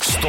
Stå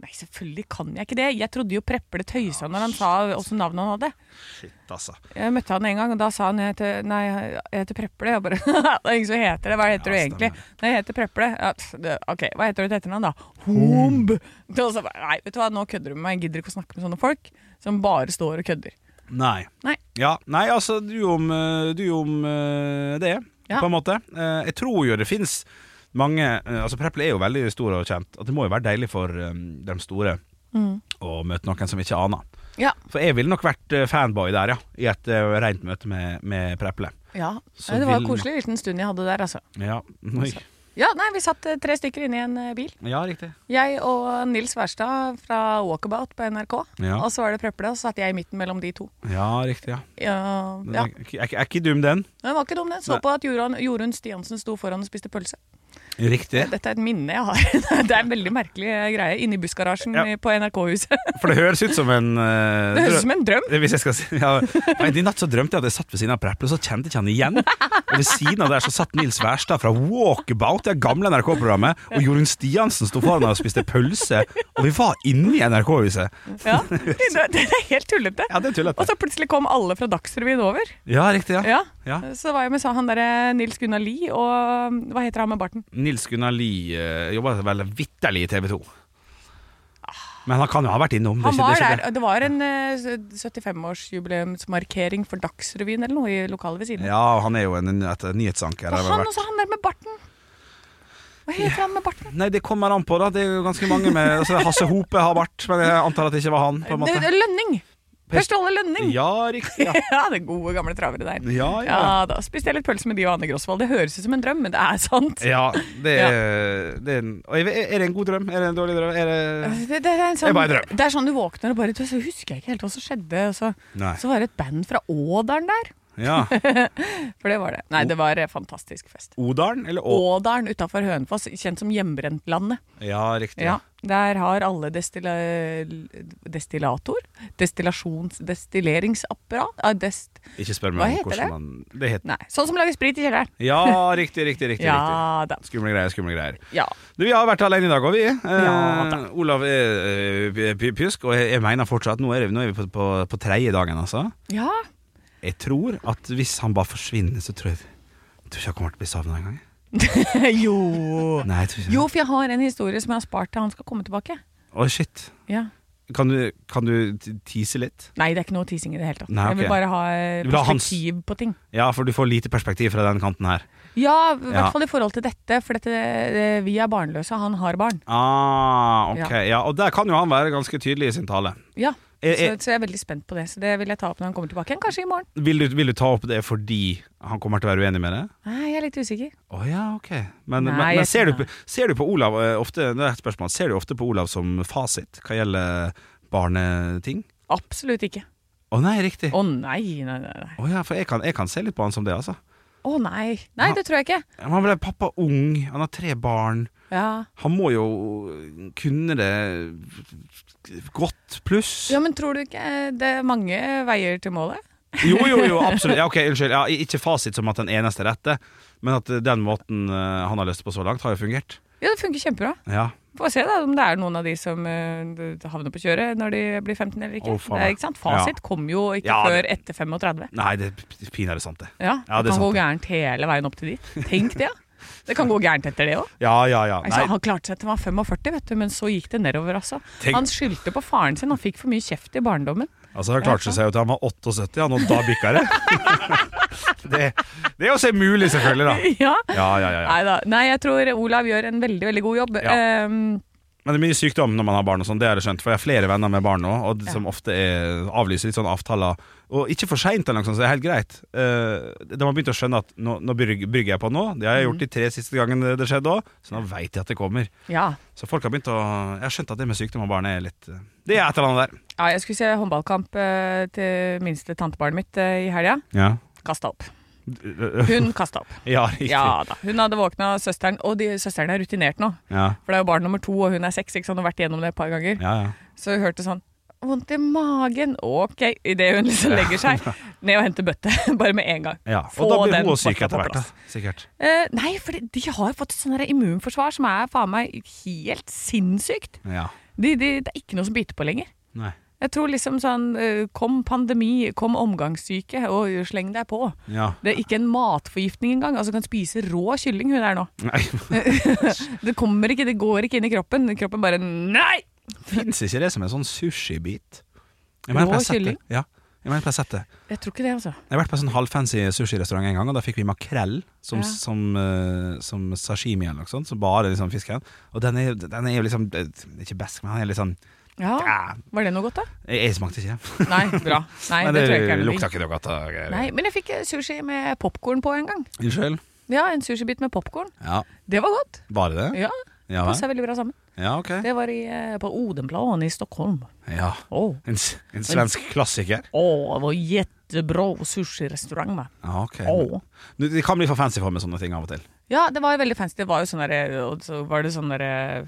Nei, selvfølgelig kan jeg ikke det. Jeg trodde jo Preple tøysa når han sa også navnet han hadde. Altså. Jeg møtte han en gang, og da sa han jeg heter, Nei, jeg heter Preple. Jeg bare Det er ingen som heter det. Hva heter du Ja, egentlig? stemmer. Nei, jeg heter Preple. Ja, pff, det- OK, hva heter du til etternavn, da? Homb. Og så bare, Nei, vet du hva, nå kødder du med meg. Jeg gidder ikke å snakke med sånne folk som bare står og kødder. Nei. Nei. Ja, nei, altså, du om, eh, du om eh, det, på Ja. en måte. Eh, Jeg tror jo det fins mange eh, Altså, Preple er jo veldig stor og kjent. At det må jo være deilig for eh, de store å møte noen som ikke aner. Mm. Ja. For jeg ville nok vært eh, fanboy der, ja. I et eh, rent møte med, med Preple. ja. Så Nei, det var en vil- koselig liten stund jeg hadde der, altså. Ja. Oi. Ja, nei, vi satt eh, tre stykker inne i en eh, bil. ja, riktig. Jeg og Nils Wærstad fra Walkabout på NRK. Ja. Og så var det Preple, og så satt jeg i midten mellom de to. Ja, riktig, ja. Ja, Den ja. Er, ikke- er, ikke- er ikke dum, den. Den var ikke dum, den. Så Nei. på at Jorunn, Jorunn Stiansen sto foran og spiste pølse. Riktig. Dette er et minne jeg har. Det er en veldig merkelig eh, greie inne i bussgarasjen Ja. i- på NRK-huset. For det høres ut som en eh, Det drø- høres ut som en drøm. Hvis jeg skal si ja, men I natt så drømte jeg at jeg satt ved siden av Preple, og så kjente jeg ikke han igjen. Og ved siden av der så satt Nils Wærstad fra Walkabout, det gamle NRK-programmet, og Jorunn Stiansen sto foran meg og spiste pølse, og vi var inne i NRK-huset. Ja. Det er helt tullete. Ja, det er Og tullete. så plutselig kom alle fra Dagsrevyen over. Ja, riktig, ja. Ja. Så var jeg med sa han derre Nils Gunnar Lie og mm, Hva heter han med barten? Nils Gunnar Lie eh, jobba vel vitterlig i TV 2. Men han kan jo ha vært innom. Han det er var ikke- det er der, ikke og det var en eh, 75-årsjubileumsmarkering for Dagsrevyen eller noe i lokalet ved det. siden av. Ja, han er jo en, et nyhetsanker. eller og hva det han har vært. også, han der med barten. Hva heter han med barten? Nei, det kommer an på, da. Det er jo ganske mange med altså, Hasse Hope har vært, men jeg antar at det ikke var han. på en Det, det måte er Lønning! Per Ståle Lønning! Ja, riktig. Ja, Ja, det gode gamle travere der. ja. Ja, ja. da spiste jeg litt pølse med de og Anne Grosvold. Det høres ut som en drøm, men det er sant. ja det er, Det er, en, og jeg vet- er det en god drøm? Er det en dårlig drøm? Er det Det, det, er Det en er sånn, bare en drøm. det er sånn du våkner og bare du, Så husker jeg ikke helt hva som skjedde. Og så, Nei. så var det et band fra Ådalen der. Ja. For det var det. Nei, det var eh, fantastisk fest. Odalen eller Å? Ådalen utafor Hønefoss, kjent som hjemmebrentlandet. Ja, riktig. Ja, der har alle destilla destillator, destillasjons... destilleringsapparat ah, dest, Ikke spør meg Hva om heter hvordan det? man Det heter Nei, sånn som lager sprit i kjelleren. Ja, riktig, riktig, riktig. riktig. Ja da. Skumle greier, skumle greier. Ja. Du, Vi har vært alene i dag òg, vi. Eh, Ja, da. Olav er eh, p- pjusk, og jeg, jeg mener fortsatt Nå er, vi- nå er vi på, på, på tredje dagen, altså. ja. Jeg tror at hvis han bare forsvinner, så tror jeg Jeg tror ikke han kommer til å bli savna engang. jo. Nei, jeg tror ikke Jo, for jeg har en historie som jeg har spart til han skal komme tilbake. Å, shit. Ja. Kan du, kan du t- tease litt? Nei, det er ikke noe teasing i det hele tatt. Nei, Jeg ok. vil bare ha eh, Du vil ha hans- perspektiv på ting. Ja, for du får lite perspektiv fra den kanten her. Ja, i hvert Ja. fall i forhold til dette, for dette, eh, vi er barnløse, han har barn. Ah, ok. Ja. Ja. Og der kan jo han være ganske tydelig i sin tale. Ja, Eh, så, eh. så jeg er veldig spent på det. Så det vil jeg ta opp når han kommer tilbake igjen, kanskje i morgen. Vil du, vil du ta opp det fordi han kommer til å være uenig med det? Nei, jeg er litt usikker. Å ja, ok. Men, Nei, men, jeg men ser, tror du, på- ser du på Olav eh, ofte Det er et spørsmål. Ser du ofte på Olav som fasit hva gjelder barneting? Absolutt ikke. Å nei, riktig. Å Å nei, nei, nei. nei. ja, for jeg kan, jeg kan se litt på han som det, altså. Å nei. Nei, det tror jeg ikke. Ja, men Han ble pappa ung, han har tre barn. Ja. Han må jo kunne det godt pluss. ja, men tror du ikke eh, det er mange veier til målet? Jo, jo, jo, absolutt. Ja, ok, unnskyld. Ja, ikke fasit som at den eneste rette, men at den måten eh, han har løst det på så langt, har jo fungert. Ja, det funker kjempebra. Ja. Får se da om det er noen av de som eh, havner på kjøret når de blir 15 eller ikke. Å, faen. det er, ikke sant? Fasit kom jo ikke Ja, før det- etter 35. Nei, det er pinadø sant, det. Ja, Ja, det det er kan gå sant, gærent hele veien opp til dit. Tenk det, ja. Det kan gå gærent etter det òg. Ja, ja, ja. Altså, han klarte seg til han var 45, vet du, men så gikk det nedover. Altså. Tenk- Han skyldte på faren sin, han fikk for mye kjeft i barndommen. altså han klarte seg jo til han var 78, han, og da bikka det. det. Det er også mulig, selvfølgelig, da. Ja. Ja, ja, ja, ja. Neida. Nei, jeg tror Olav gjør en veldig veldig god jobb. Ja. Ehm, Men det er mye sykdom når man har barn, og sånn, det har jeg skjønt. For jeg har flere venner med barn nå, og Ja. som ofte er, avlyser litt sånn avtaler. Og ikke for seint, eller noe sånt, så det er helt greit. Eh, de har begynt å skjønne at nå, nå brygg- brygger jeg på nå. Det har Mm. jeg gjort de tre siste gangene det skjedde òg, så nå veit jeg at det kommer. ja. Så folk har begynt å Jeg har skjønt at det med sykdom og barn er litt eh, Det er et eller annet der. ja, jeg skulle se håndballkamp eh, til minste tantebarnet mitt eh, i helga. Ja. Kasta opp. Hun kasta opp. Ja, riktig. Ja da. Hun hadde våkna søsteren, og de, søsteren er rutinert nå. Ja. For det er jo barn nummer to, og hun er seks, ikke sant, og har vært igjennom det et par ganger. Ja, ja. Så hun hørte sånn Vondt i magen. Ok. Idet hun liksom legger seg ned og henter bøtte. Bare med en gang. Ja, Få og da blir den hun også syk bøtta på etter hvert. plass. da, Sikkert. Eh, nei, for de, de har jo fått et sånn her immunforsvar som er faen meg helt sinnssykt. Ja. De, de, det er ikke noe som biter på lenger. Nei. Jeg tror liksom sånn eh, Kom pandemi, kom omgangssyke, og sleng deg på. Ja. Det er ikke en matforgiftning engang. Altså kan spise rå kylling hun er nå. Nei, Det kommer ikke, det går ikke inn i kroppen. Kroppen bare nei! fins ikke det som en sånn sushibit? Jeg Rå mener jeg har sett det. kylling? Ja. Jeg mener jeg har sett det. Jeg tror ikke det, altså. Jeg har vært på en sånn halvfancy sushirestaurant en gang, og da fikk vi makrell som, Ja. som, eh, som sashimi eller noe sånt, så bare liksom fisken. Og den er, den er jo liksom, eh, ikke besk, men den er litt sånn, Ja, ah, Var det noe godt, da? jeg, jeg smakte ikke. Nei, bra. Nei, men det, tror jeg ikke er noe lukta digg. ikke noe godt. av greier. Nei, men jeg fikk eh, sushi med popkorn på en gang. Unnskyld? Ja, en sushibit med popkorn. Ja, Det var godt. var det det? Ja, Ja, vel? Passa veldig bra sammen. ja ok. Det var i, eh, på Odenplan i Stockholm. Ja, Å, en, s- en svensk klassiker. Å, det var jättebra sushirestaurang. va? Ja, ok. Å. Men Det kan bli for fancy for meg sånne ting av og til. Ja, det var veldig fancy. Det var jo sånn derre Og så var det sånn derre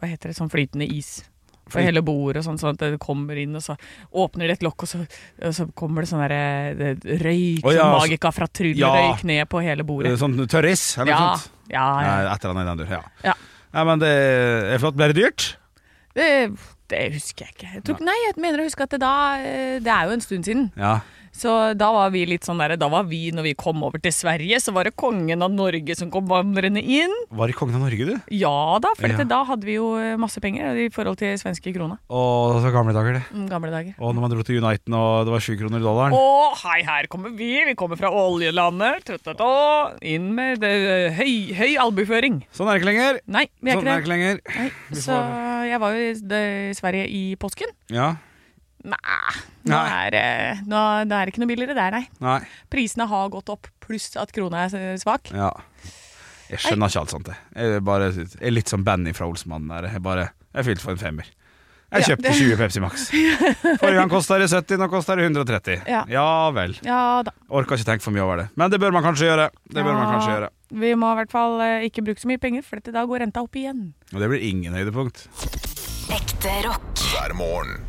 Hva heter det? Sånn flytende is. På Flyt- hele bordet og sånn, sånn at det kommer inn, og så åpner de et lokk, og så, og så kommer det sånn derre det- røyk, Å, ja, sånn magika fra Trude Ja. røyk ned på hele Eh, bordet. Sånn tørris, eller noe Ja, sånt. ja, ja. Nei, Et eller annet i den dur, ja. Ja. Nei, men det er flott. Ble det dyrt? Det, det husker jeg ikke. Jeg tror, ikke- nei, jeg mener å huske at det da eh, Det er jo en stund siden. Ja. Så da var vi litt sånn derre Da var vi, når vi kom over til Sverige, så var det kongen av Norge som kom vandrende inn. Var det kongen av Norge, du? Ja da, for Ja. dette- da hadde vi jo eh, masse penger i forhold til svenske krona. Å, så gamle dager, det. Mm, Gamle dager. Og når man dro til Uniten, og det var sju kroner i dollaren. Å, hei, her kommer vi. Vi kommer fra oljelandet. Tuttatå. Inn med det, eh, høy, høy albuføring. Sånn er det ikke lenger. Nei, vi er Sånn er det ikke det. ikke lenger. Nei, Vi så jeg var jo i det- Sverige i påsken. Ja. Nei, nå Nei. er, det- nå, det er ikke noe billigere der, nei. Nei. Prisene har gått opp, pluss at krona er eh, svak. Ja. Jeg skjønner ikke alt sånt, jeg. jeg. er Bare, jeg er litt som Benny fra Olsmannen der. Jeg bare Jeg fylte for en femmer. Jeg Ja, kjøpte 20 Pepsi Max. Forrige gang kosta det 70, nå koster det 130. Ja. vel. Ja da. Orka ikke tenke for mye over det. Men det bør man kanskje gjøre. Det bør man Ja, kanskje gjøre. Vi må i hvert fall eh, ikke bruke så mye penger, for dette da går renta opp igjen. Og det blir ingen høydepunkt. Ekte rock. hver morgen.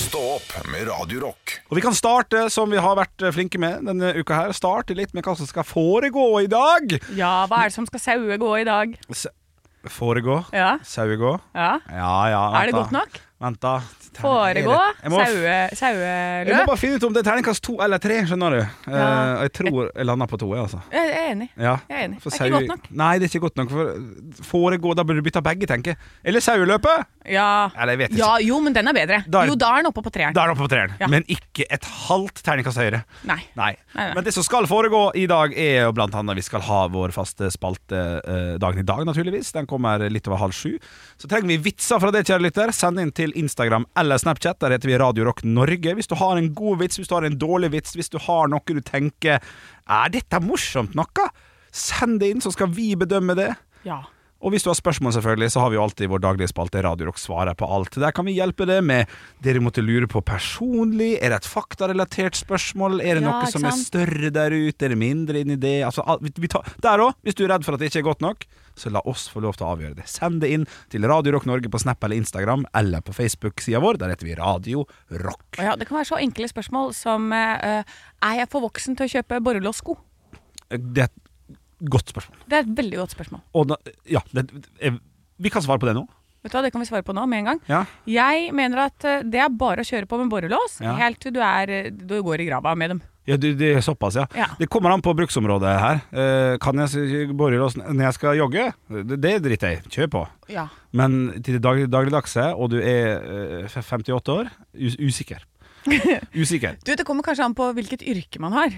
Stå opp med Radio Rock. Og vi kan starte som vi har vært flinke med denne uka her. Starte litt med hva som skal foregå i dag. Ja, hva er det som skal saue gå i dag? S foregå? Ja, Sauegå? ja. Ja, ja. Er vent det da. godt nok? Vent, da. Foregå? Jeg må, Saue, jeg må saueløp? bare finne ut om det er terningkast to eller tre, skjønner du. Eh, Ja. og jeg tror jeg lander på to, jeg, altså. Jeg er enig. Ja. Jeg er enig. For Det er ikke sau- godt nok. Nei, det er ikke godt nok. For foregå, da burde du bytte begge, tenker jeg. Eller saueløpet! Ja. Eller jeg vet ikke. ja, jo, men den er bedre. Da er- Jo, da er den oppe på treeren. Da er det oppe på treeren. Ja. Men ikke et halvt terningkast høyere. Nei. Nei. Nei, nei. Men det som skal foregå i dag, er jo blant annet vi skal ha vår faste spalte eh, dagen i dag, naturligvis. Den kommer litt over halv sju. Så trenger vi vitser fra det, kjære lytter. Send inn til Instagram eller Snapchat. Der heter vi Radio Rock Norge. Hvis du har en god vits, hvis du har en dårlig vits, hvis du har noe du tenker Er dette morsomt noe? Send det inn, så skal vi bedømme det. Ja. Og hvis du har spørsmål, selvfølgelig, så har vi jo alltid vår daglige spalte Radio Rock svarer på alt. Der kan vi hjelpe deg med det du måtte lure på personlig. Er det et faktarelatert spørsmål? Er det Ja, noe ikke som er sant? større der ute? Er det mindre inni det? Altså, alt- vi, vi tar, der òg, hvis du er redd for at det ikke er godt nok, så la oss få lov til å avgjøre det. Send det inn til Radio Rock Norge på Snap eller Instagram, eller på Facebook-sida vår. Der heter vi Radio Rock. Og ja, det kan være så enkle spørsmål som eh, Er jeg for voksen til å kjøpe borrelåssko? Det er et godt spørsmål. Det er et veldig godt spørsmål. Og da, ja, det, eh, vi kan svare på det nå. Vet du hva, Det kan vi svare på nå med en gang. Ja. Jeg mener at eh, det er bare å kjøre på med borrelås Ja. helt til du, er, eh, du går i grava med dem. Ja, det, det er såpass, ja. Ja. Det kommer an på bruksområdet her. Eh, kan jeg s- bore lås når jeg skal jogge? Det, det driter jeg i. Kjør på. Ja. Men til det dag, dagligdagse, og du er eh, f- 58 år, us usikker. Usikker. Du, Det kommer kanskje an på hvilket yrke man har.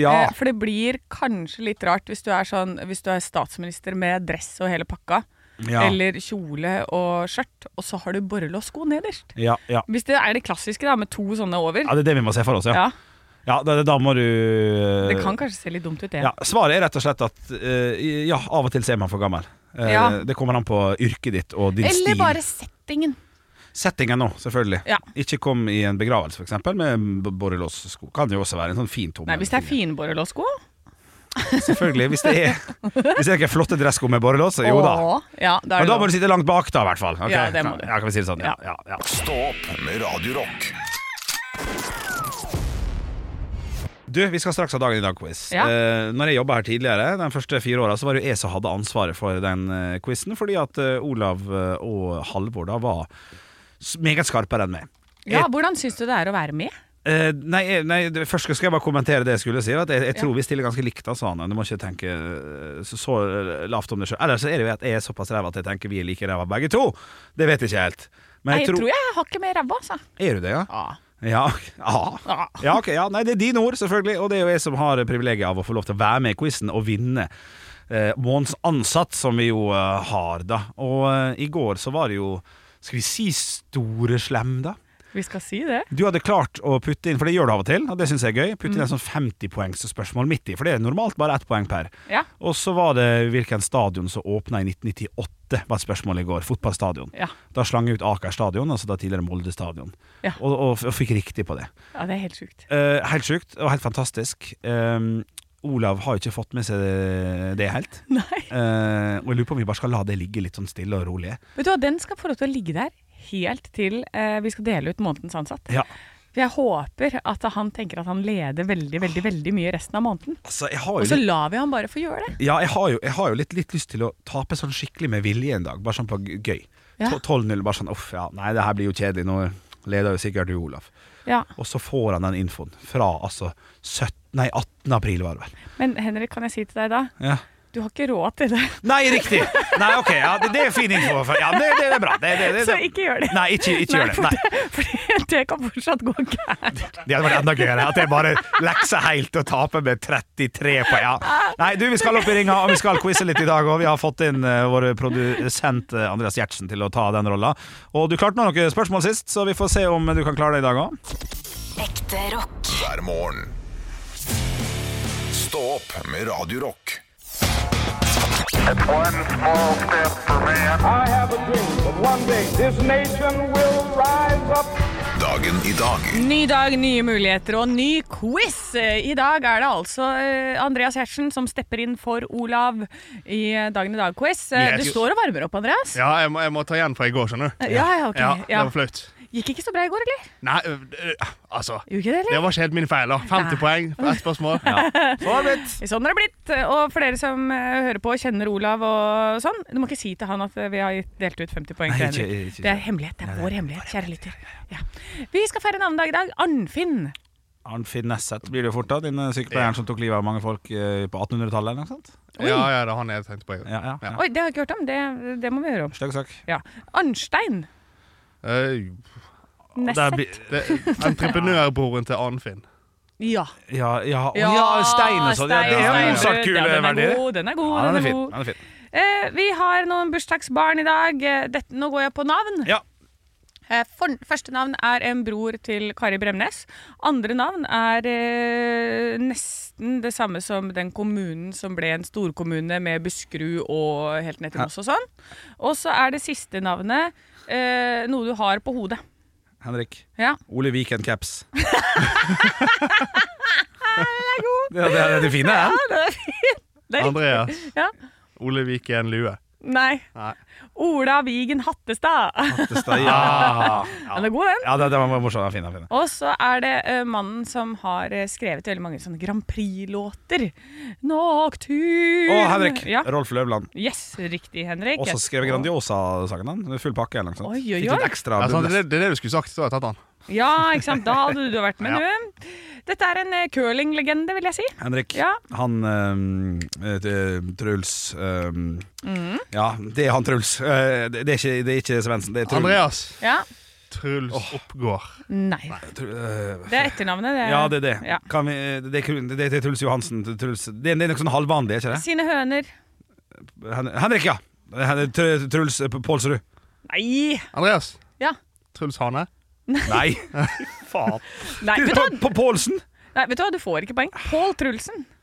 Ja. Eh, For det blir kanskje litt rart hvis du er, sånn, hvis du er statsminister med dress og hele pakka, Ja. eller kjole og skjørt, og så har du borrelåssko nederst. Ja, ja. Hvis det er det klassiske da, med to sånne over, ja, det er det vi må se for oss, ja. ja, Ja, da, da må du eh, det kan kanskje se litt dumt ut, det. ja, Svaret er rett og slett at eh, ja, av og til så er man for gammel. Eh, Ja. Det kommer an på yrket ditt og din Eller stil. bare settingen. Settingen nå, selvfølgelig. Ja. Ikke kom i en begravelse, f.eks., med b- borrelåssko. Kan jo også være en sånn fin tommel. Nei, Hvis det er finborrelåssko, Selvfølgelig. Hvis det er, hvis det er noen flotte dressko med borrelås, så jo da. Åh, Ja, da er Men det da må lov. du sitte langt bak, da, i hvert fall. Ok, Ja, det må du. Ja, kan vi si det sånn? Ja, ja, ja. Stå opp med Radio Rock. Du, vi skal straks ha dagen i dag-quiz. Ja. Eh, når jeg jobba her tidligere, de første fire åra, så var det jo jeg som hadde ansvaret for den eh, quizen, fordi at eh, Olav eh, og Halvor da var s- meget skarpere enn meg. Ja, hvordan syns du det er å være med? Eh, nei, jeg- nei, det- først skal jeg bare kommentere det jeg skulle si. At jeg, jeg tror vi stiller ganske likt, da, sa han. Du må ikke tenke eh, så, så eh, lavt om det sjøl. Eller så er det jo at jeg er såpass ræva at jeg tenker vi er like ræva begge to. Det vet jeg ikke helt. Men Nei, jeg tror jeg har ikke med ræva, altså. Er du det, ja? Ja. Ja, ja. Ja. ja ok, ja. Nei, det er dine ord, selvfølgelig. Og det er jo jeg som har privilegiet av å få lov til å være med i quizen og vinne. Eh, Månens ansatt, som vi jo eh, har, da. Og eh, i går så var det jo Skal vi si store slem, da? Vi skal si det. Du hadde klart å putte inn, for det gjør du av og til, og det syns jeg er gøy, Mm. putte inn en sånn 50-poengsspørsmål midt i, for det er normalt bare ett poeng per. Ja. Og så var det hvilken stadion som åpna i 1998, var et spørsmål i går. Fotballstadion. Ja. Da slang jeg ut Aker stadion, altså da tidligere Molde stadion, Ja. og, og, og fikk riktig på det. ja, det er helt sjukt. Eh, helt sjukt og helt fantastisk. Eh, Olav har jo ikke fått med seg det, det helt. Nei. Eh, og jeg lurer på om vi bare skal la det ligge litt sånn stille og rolig. Vet du hva, den skal få lov til å ligge der helt til eh, vi skal dele ut månedens ansatt. Ja. For jeg håper at han tenker at han leder veldig, veldig veldig mye resten av måneden. Altså, jeg har Og jo så litt, lar vi han bare få gjøre det. ja, jeg har jo, jeg har jo litt, litt lyst til å tape sånn skikkelig med vilje en dag, bare sånn på g- gøy. Ja. To- 12-0, bare sånn uff, ja, nei, det her blir jo kjedelig, nå leder jo sikkert du, Olav. Ja. Og så får han den infoen fra altså 17, nei, 18. april, var det vel. Men Henrik, kan jeg si til deg da? Ja. Du har ikke råd til det, Nei, riktig! Nei, ok, ja, det, det er fin info. for- Ja, det, det er bra. Det, det, det, så ikke gjør det. Nei, ikke, ikke gjør det. for Nei. det. For det kan fortsatt gå gærent. Det hadde vært enda gøyere. At jeg bare lekser helt og taper med 33 poeng. Ja. Nei, du, vi skal opp i ringa, og vi skal quize litt i dag. Og vi har fått inn eh, vår produsent eh, Andreas Gjertsen til å ta den rolla. Og du klarte nå noen spørsmål sist, så vi får se om du kan klare det i dag òg. Ekte rock. hver morgen. Stå opp med Radio Rock. One small step for man. I have a dream that one day this nation will rise up. Dagen i dag Ny dag, nye muligheter og ny quiz. Eh, I dag er det altså eh, Andreas Hertzen som stepper inn for Olav i eh, Dagen i dag-quiz. Eh, Vi Du heter jo- står og varmer opp, Andreas. Ja, jeg må, jeg må ta igjen fra i går, skjønner du. Ja, ja, ok, Det ja. var flaut. Gikk ikke så bra i går, eller? Nei, ø, ø, altså Gjorde ikke det, Det eller? var ikke helt min feil. da 50 poeng på ett spørsmål. Sånn har det blitt. Og for dere som eh, hører på og kjenner Olav og sånn, du må ikke si til han at eh, vi har gitt- delt ut 50 poeng til Nei, ikke- Henrik. ikke- Det er hemmelighet. Det er vår hemmelighet, kjære lytter. Ja. Vi skal feire navnedag i dag. Arnfinn. Arnfinn Nesset blir det jo fort, da. Din eh, sykepleieren som tok livet av mange folk eh, på 1800-tallet, eller noe sånt? Ja, ja, det er han jeg tenkte på i går. Ja, ja. ja. Oi, det har jeg ikke hørt om. Det, det må vi høre om. Stygg sak. Ja. Arnstein Ø, Der Nesset. blir- det- Entreprenørbroren til Arnfinn. Ja. Ja, ja, å, ja, stein og sånn. Ja, det er jo stein, Mozart ja, kule den er verdier. god, Den er god. Ja, den er fin. god. Den er fin. Eh, vi har noen bursdagsbarn i dag. Eh, Dette, nå går jeg på navn. Ja. Eh, for, første navn er en bror til Kari Bremnes. Andre navn er eh, nesten det samme som den kommunen som ble en storkommune med Buskerud og helt ned til Moss og sånn. Og så er det siste navnet eh, noe du har på hodet. Henrik. Ja. Ole Viken caps. Den er god! Det er det fine, den. Det er riktig. Andreas. Ja. Ole Viken Lue. Nei. Nei. Ola Vigen Hattestad. Hattestad, Ja, Den er god, den. ja det, det var morsomt. Den er fin, den er fin. Og så er det eh, mannen som har eh, skrevet veldig mange sånne Grand Prix-låter. Nocturne. Å, Henrik. Ja. Rolf Løvland. Yes, riktig, Henrik. Også skrev Grandiosa-sangen. han. Full pakke eller noe sånt. Oi, oi, Fikk litt oi. ekstra Ja, sånn, bubler. sant, det, er det- det er det du skulle sagt, så har jeg tatt han. Ja, ikke sant. Da hadde du vært med, Ja. du. Dette er en eh, curlinglegende, vil jeg si. Henrik, Ja. han eh, eh, Truls eh, Mm. Ja, det er han Truls. Eh, det, det, er ikke, det er ikke Svendsen, det er Truls. Andreas. Ja. Truls Oppgård. Nei. Tru- eh, Det er etternavnet, det. ja, det er det. Ja. Kan vi, det, er, kun- det er Truls Johansen. Truls, det, er- det er noe sånn halvvanlig, er ikke det? Sine høner. Hen Henrik, ja. Hen Tr- Truls eh, Pålsrud. Nei! Andreas. Ja. Truls Hane. Nei. Faen. Nei, Du, vet du, hva? på, på Pålsen? Nei, vet du hva, du får ikke poeng. Pål Trulsen. Ja,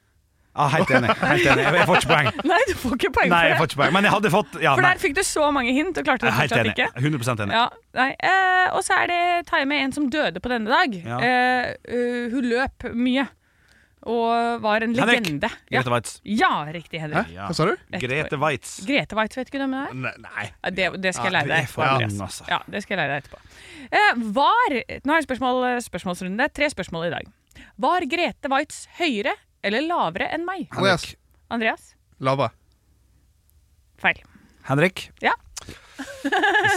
Ah, helt enig. Helt enig. Jeg får ikke poeng. Nei, du får ikke poeng Nei, jeg for det. får ikke poeng. Men jeg hadde fått ja, For nei. der fikk du så mange hint og klarte Jeg det er Helt fortsatt enig. ikke. 100 enig. Ja, nei. Eh, og så er det time en som døde på denne dag. Ja. Eh, eh, hun løp mye. og var en Henrik. legende. Ja, Grete Waitz. ja riktig, Henrik. Hæ? Hva sa du? Grete Waitz. Grete Waitz, vet ikke du hvem det er? Nei, nei. Ja, Det, det skal Ja, jeg lære du er deg for etterpå. ung, Andreas. altså. Ja, det skal jeg lære deg etterpå. Eh, var Nå er det spørsmål, spørsmålsrunde. Tre spørsmål i dag. Var Grete Waitz høyere eller lavere enn meg? Andreas. Andreas? Lavere. Feil. Henrik. Ja.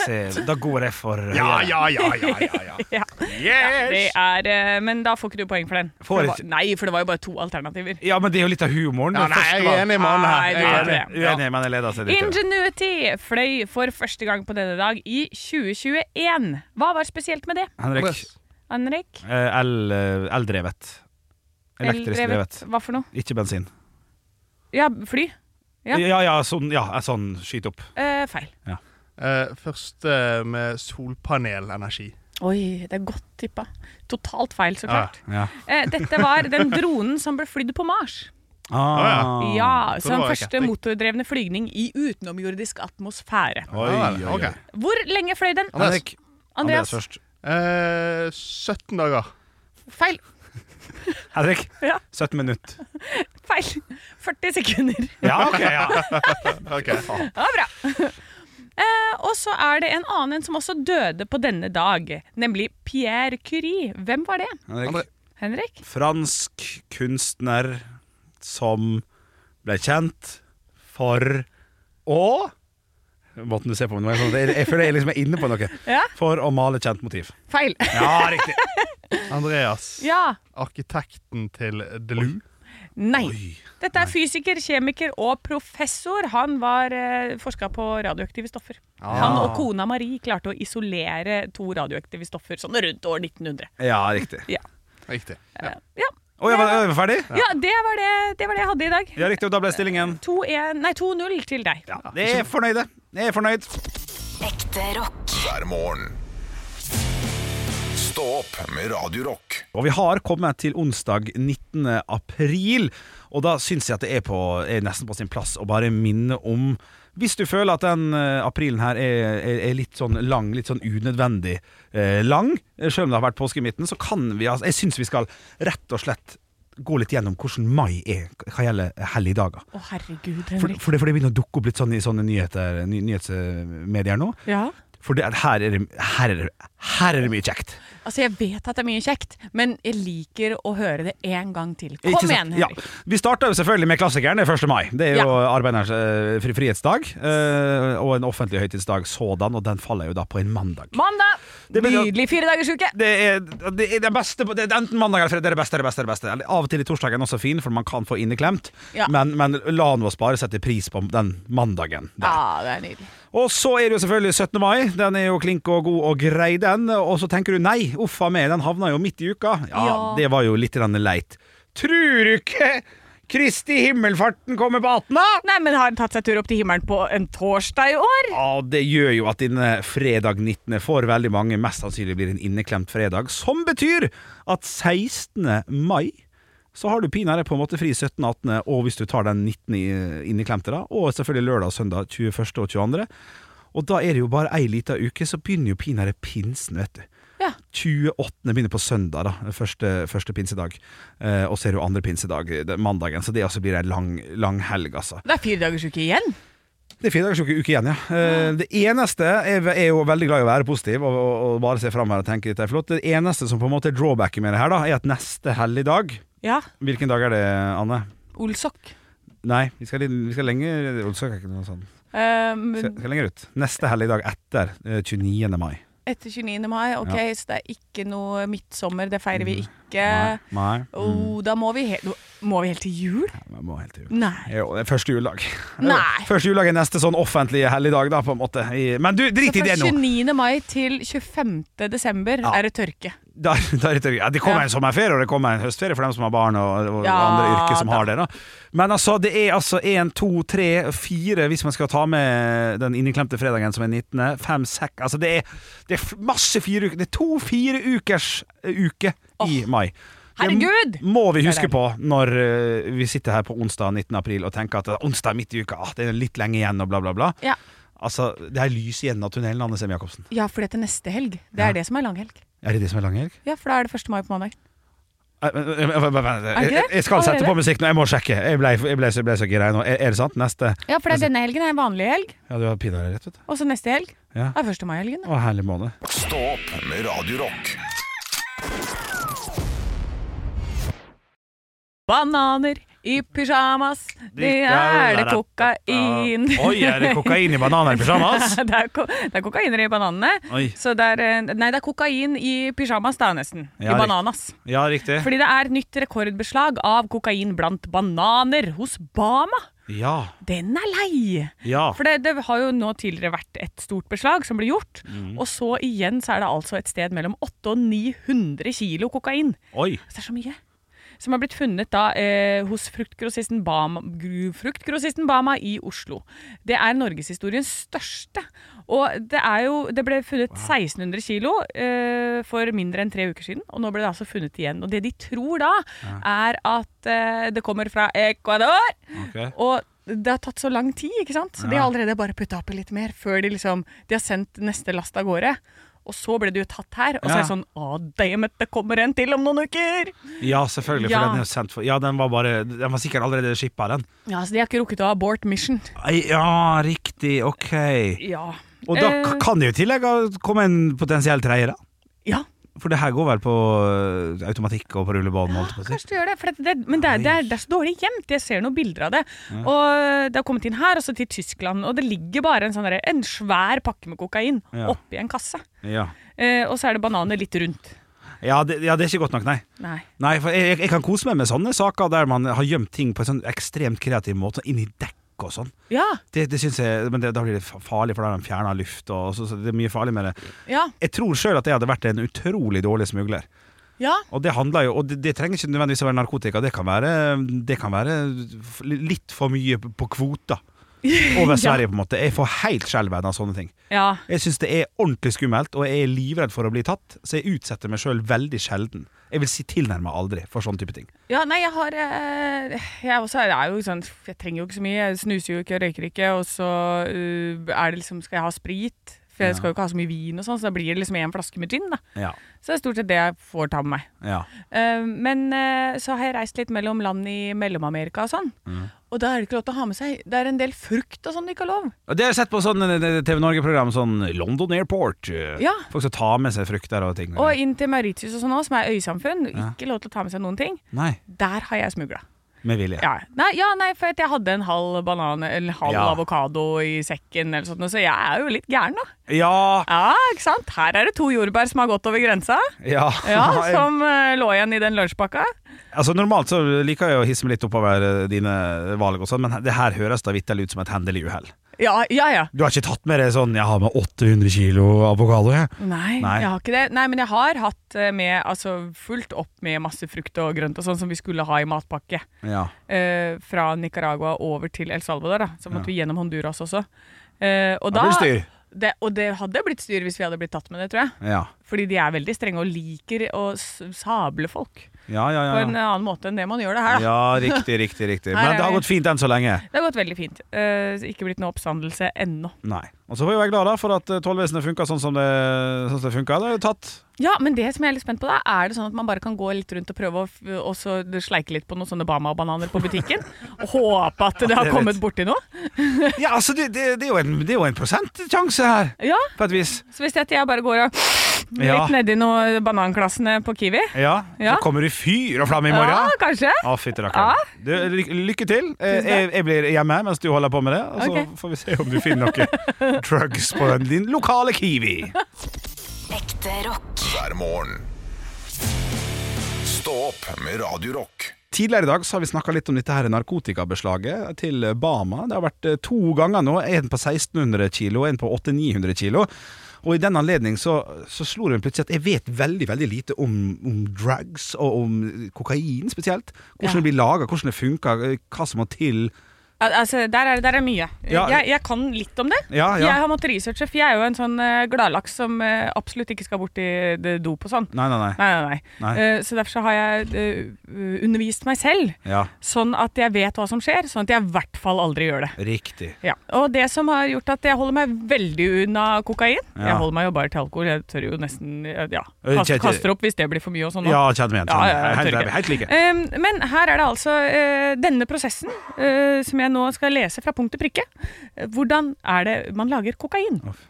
Se, Da går jeg for Ja, ja, ja, ja, ja, ja. ja. Det Yes! er, eh, men da får ikke du poeng for den. Får For det ikke- var, nei, for det var jo bare to alternativer. Ja, men det er jo litt av humoren. Ja, Det nei, første jeg er var- enig med han Nei, her. du Jeg er er enig. det. Uenig, men jeg leder seg litt. Ingenuity fløy for første gang på denne dag i 2021. Hva var spesielt med det, Henrik. Andreas. Henrik? eh, el- eh, Eldrevet. Elektrisk drevet. eh, Hva for noe? Ikke bensin. Ja, fly. Ja. Ja, ja, sånn, ja, sånn skyt opp. Eh, feil. Eh, Først eh, med solpanelenergi. Oi, det er godt tippa. Totalt feil, så Ja, klart. Ja. Eh, dette var den dronen som ble flydd på Mars. Ah. Ja, så det Som var første raketting. motordrevne flygning i utenomjordisk atmosfære. Oi, Ja, oi, vel, oi. ok. Hvor lenge fløy den? Andreas. Henrik. Andreas Andreas? først. Eh, 17 dager. Feil. Henrik. Ja. 17 minutter. Feil. 40 sekunder. Ja, ok, ja. Ok. Det var bra. Eh, og så er det en annen en som også døde på denne dag, nemlig Pierre Curie. Hvem var det? Henrik. Henrik? Fransk kunstner som ble kjent for å Måten du ser på meg nå, er sånn at jeg, jeg føler jeg liksom er inne på noe. Ja. For å male kjent motiv. Feil. Ja, riktig. Andreas. Ja. Arkitekten til Delu. Nei. Oi. Dette er fysiker, kjemiker og professor. Han var eh, forska på radioaktive stoffer. Han og kona Marie klarte å isolere to radioaktive stoffer sånn rundt år 1900. Ja, riktig. Ja, Riktig. ja. Å, jeg var, jeg var ferdig? ja det, var det, det var det jeg hadde i dag. Ja, riktig. Og da ble stillingen 2-1 Nei, 2-0 til deg. Jeg er fornøyde. Jeg er fornøyd. Ekte rock. hver morgen. Stå opp med Radio Rock. Og vi har kommet til onsdag 19. april, og da syns jeg at det er, på, er nesten på sin plass å bare minne om Hvis du føler at den eh, aprilen her er, er, er litt sånn lang, litt sånn unødvendig eh, lang, eh, selv om det har vært påske i midten, så kan vi altså Jeg syns vi skal rett og slett gå litt gjennom hvordan mai er hva gjelder helligdager. Å, herregud, For, Henrik. for, det, for det begynner å dukke opp litt sånn i sånne nyheter, ny, nyhetsmedier nå. Ja. For det, her, er det, her, er det, her er det mye kjekt. Altså, jeg vet at det er mye kjekt, men jeg liker å høre det en gang til. Kom Ikke igjen, sant? Henrik. Ja. Vi starta jo selvfølgelig med klassikeren, det er 1. mai. Det er jo arbeidernes eh, fri- frihetsdag, eh, og en offentlig høytidsdag sådan, og den faller jo da på en mandag. Mandag! Det betyr- Nydelig firedagersuke. Det er, det er det beste på- det er Enten mandag eller fredag, det er det beste, det er det beste. det er det beste Eller Av og til i torsdagen er også fin, for man kan få inneklemt, Ja. men, men la nå oss bare sette pris på den mandagen. der. Ja, Ah, det er nydelig. Og så er det jo selvfølgelig 17. mai. Den er jo klink og god og grei, den. Og så tenker du nei, uffa meg, den havna jo midt i uka. Ja, Ja. det var jo litt grann leit. Trur du ikke Kristi himmelfarten kommer på 18.? da? Nei, men har han tatt seg tur opp til himmelen på en torsdag i år? Ja, det gjør jo at denne fredag 19. for veldig mange mest sannsynlig blir en inneklemt fredag, som betyr at 16. mai så har du pinadø på en måte fri 17., 18., og hvis du tar den 19. i- inneklemte, da, og selvfølgelig lørdag og søndag 21. og 22. Og da er det jo bare ei lita uke, så begynner jo pinadø pinsen, vet du. Ja. 28. begynner på søndag, da. Første, første pinsedag. Eh, og så er det jo andre pinsedag det, mandagen, så det altså blir ei lang, lang helg, altså. Det er firedagersuke igjen. Det er fire dagers uke uke igjen, ja. Eh, Det eneste Jeg er jo veldig glad i å være positiv og, og, og bare se fram her og tenke dette er flott. Det eneste som på en måte er drawbacket med det her, da, er at neste helligdag Ja. Hvilken dag er det, Anne? Olsok. Nei, vi skal, litt- vi skal lenger Olsøk er ikke noe sånt. Um, Vi skal, skal lenger ut. Neste helligdag etter eh, 29. mai. etter 29. mai, ok, så det er ikke noe midtsommer, det feirer vi ikke. Mm. Nei. Mm. Oh, da må vi, he må vi helt til jul? Nei, vi må helt til jul. Nei. Jo, det er første juledag. Nei. Første juledag er neste sånn offentlige helligdag, da, på en måte. I- Men du, Så drit i fra det nå! 29. mai til 25. desember Ja. er det tørke. Da- da er det tørre. ja, det kommer Ja. en sommerferie, og det kommer en høstferie for dem som har barn og, og Ja, andre yrker som da. har det. Da. Men altså, det er altså én, to, tre, fire hvis man skal ta med den inneklemte fredagen som er 19. Fem, seks Altså, det er, det er f- masse fire uker. Det er to fire ukers eh, uke i mai. Det Herregud! m- må vi Det er huske på når eh, vi sitter her på onsdag 19. april og tenker at eh, onsdag er midt i uka, ah, det er litt lenge igjen og bla, bla, bla. Ja, Altså, det er lys i enden av tunnelen, Anne Sem Jacobsen. ja for det er til neste helg. Det er det som er langhelg. Er det det som er langhelg? Ja, for da er det 1. mai på mandag. Eh, det det? Jeg jeg skal sette på musikk nå, jeg må sjekke. Jeg ble, jeg ble, jeg ble så gira nå. Er er det sant? Neste Ja, for det er denne helgen er en vanlig helg, Ja, du har pinadø rett, vet du. og så neste helg Ja. er 1. mai-helgen. Å, herlig måned. Stå opp med Radio Rock. Bananer i pysjamas, det er det kokain. Oi, er det kokain i bananer i pysjamas? det, er ko det er kokainer i bananene. Oi. Så det er, eh, nei, det er kokain i pysjamas, da, nesten. Ja, I riktig. bananas. Ja, riktig. Fordi det er nytt rekordbeslag av kokain blant bananer hos Bama. Ja. Den er lei! Ja. For det, det har jo nå tidligere vært et stort beslag som ble gjort. Og så igjen så er det altså et sted mellom 800 og 900 kilo kokain. Oi. Altså, det er så mye. Som har blitt funnet da eh, hos fruktgrossisten Bama, gru- fruktgrossisten Bama i Oslo. Det er norgeshistoriens største. Og det er jo Det ble funnet 1600 kilo eh, for mindre enn tre uker siden, og nå ble det altså funnet igjen. Og det de tror da, er at eh, det kommer fra Ecuador. Ok. Og det har tatt så lang tid, ikke sant? Så de har allerede bare putta oppi litt mer før de liksom De har sendt neste last av gårde. Og så ble det jo tatt her. Og så er det Ja. sånn Å, damn it, det kommer en til om noen uker! Ja, selvfølgelig. For Ja. Den, er jo sendt for, ja, den, var bare, den var sikkert allerede shippa, den. Ja, Så de har ikke rukket å abort mission. Ei, Ja, riktig. Ok. Ja. Og da Eh. k- kan det jo i tillegg ha- komme en potensiell treier, da. Ja, For det her går vel på eh, automatikk og på rullebånd? holdt jeg på å si. kanskje du gjør det. For det, det, men det er, det, er, det er så dårlig gjemt. Jeg ser noen bilder av det. Og det har kommet inn her, og så til Tyskland. Og det ligger bare en, sånn derre- en svær pakke med kokain Ja. oppi en kasse. Ja. Eh, og så er det bananer litt rundt. Ja, det, ja, det er ikke godt nok, nei. Nei. Nei, for jeg, jeg- jeg kan kose meg med sånne saker der man har gjemt ting på en sånn ekstremt kreativ måte, sånn inni dekk og sånn. Ja. Det, det synes jeg, Men det, da blir det fa- farlig, for da har de fjerna luft, og så, så det er mye farlig med det. Ja. Jeg tror sjøl at jeg hadde vært en utrolig dårlig smugler. Ja. Og det handler jo, og det, det trenger ikke nødvendigvis å være narkotika, det kan være, det kan være f- litt for mye p- på kvota over Sverige, på en måte. Jeg får helt skjelven av sånne ting. ja. Jeg syns det er ordentlig skummelt, og jeg er livredd for å bli tatt, så jeg utsetter meg sjøl veldig sjelden. Jeg vil si tilnærma aldri for sånne type ting. Ja, nei, jeg har eh, Jeg, også er er jo sånn, jeg trenger jo ikke så mye. Jeg snuser jo ikke, jeg røyker ikke. Og så eh, er det liksom Skal jeg ha sprit? For jeg skal jo ikke ha så mye vin, og sånn, så da blir det liksom en flaske med gin. da. Ja, Så det er stort sett det jeg får ta med meg. ja. Eh, men eh, så har jeg reist litt mellom land i Mellom-Amerika og sånn. Og da er det ikke lov til å ha med seg Det er en del frukt og sånn du ikke har lov. Og Det har jeg sett på sånn eh, TV Norge-program, sånn London Airport. eh, Ja. Folk som tar med seg frukter og ting. Og inn til Mauritius og sånn òg, som er øysamfunn. Ikke lov til å ta med seg noen ting. Nei, Der har jeg smugla. med vilje. Ja. Nei, ja, nei, for at jeg hadde en halv banan eller en halv Ja. avokado i sekken, eller sånt, så jeg er jo litt gæren, da. Ja, Ja, ikke sant? Her er det to jordbær som har gått over grensa, ja. ja, som eh, lå igjen i den lunsjpakka. Altså Normalt så liker jeg å hisse meg litt oppover eh, dine valg, og sånn men det her høres da vitterlig ut som et hendelig uhell. Ja, ja, ja. Du har ikke tatt med deg sånn 'jeg har med 800 kilo avokado'? Jeg. Nei, Nei. jeg har ikke det. Nei, men jeg har hatt eh, med, altså fullt opp med masse frukt og grønt og sånn som vi skulle ha i matpakke. Ja. eh, fra Nicaragua over til El Salvador, da. Så måtte vi gjennom Honduras også. Eh, og Da da, blir det styr. Det, og det hadde blitt styr hvis vi hadde blitt tatt med det, tror jeg. Ja. Fordi de er veldig strenge og liker å s- sable folk Ja, ja, på en eh, ja. annen måte enn det man gjør det her. Da. ja, riktig, riktig. riktig Her Men er det har vi. gått fint enn så lenge. Det har gått veldig fint. Eh, så ikke blitt noe oppstandelse ennå. Nei. Og så får vi være glad da for at eh, tollvesenet funka sånn som det, sånn som det funka. Det er jo tatt. Ja, men det som jeg er litt spent på, da, er det sånn at man bare kan gå litt rundt og prøve å f- og så sleike litt på noen sånne Bama-bananer på butikken? og håpe at det har det kommet vet. borti noe? Ja, altså, det, det, det, er jo en, det er jo en prosentsjanse her, Ja, på et vis. så hvis jeg, jeg bare går og Ja. litt nedi noen bananklassene på Kiwi Ja. Ja. Så kommer det fyr og flamme i morgen. Ja, kanskje? Å, fytti rakkeren. Du, ly- Lykke til. Eh, Jeg, jeg blir hjemme mens du holder på med det, og så Ok. får vi se om du finner noe drugs på din lokale Kiwi. Ekte rock. Hver morgen. Stå opp med Radio Rock. Tidligere i dag så har vi snakka litt om dette her narkotikabeslaget til Bama. Det har vært eh, to ganger nå, en på 1600 kilo og en på 800-900 kilo. Og i den anledning så, så slo det meg plutselig at jeg vet veldig veldig lite om, om drugs, og om kokain spesielt. Hvordan Ja. det blir laga, hvordan det funker, eh, hva som må til Al- Altså, der er det der er mye. Ja. Jeg, jeg kan litt om det. Ja, Ah, ja. Jeg har måttet researche, for jeg er jo en sånn eh, gladlaks som eh, absolutt ikke skal bort i det dop og sånn. Nei, nei, nei. Nei, nei, nei. Nei. Eh, så derfor så har jeg eh, undervist meg selv, Ja, sånn at jeg vet hva som skjer, sånn at jeg i hvert fall aldri gjør det. riktig. Ja. Og det som har gjort at jeg holder meg veldig unna kokain Ja. Jeg holder meg jo bare til alkohol. Jeg tør jo nesten eh, ja, Eh, kast, kjente- kaster opp hvis det blir for mye og sånn. Ja, kjenn meg igjen. Ja, kjenn meg. ja, jeg Helt, helt, tør ikke. helt like. Um, men her er det altså eh, denne prosessen eh, som jeg nå skal lese fra punkt til prikke. Eh, Hvordan er det man lager kokain? Uff.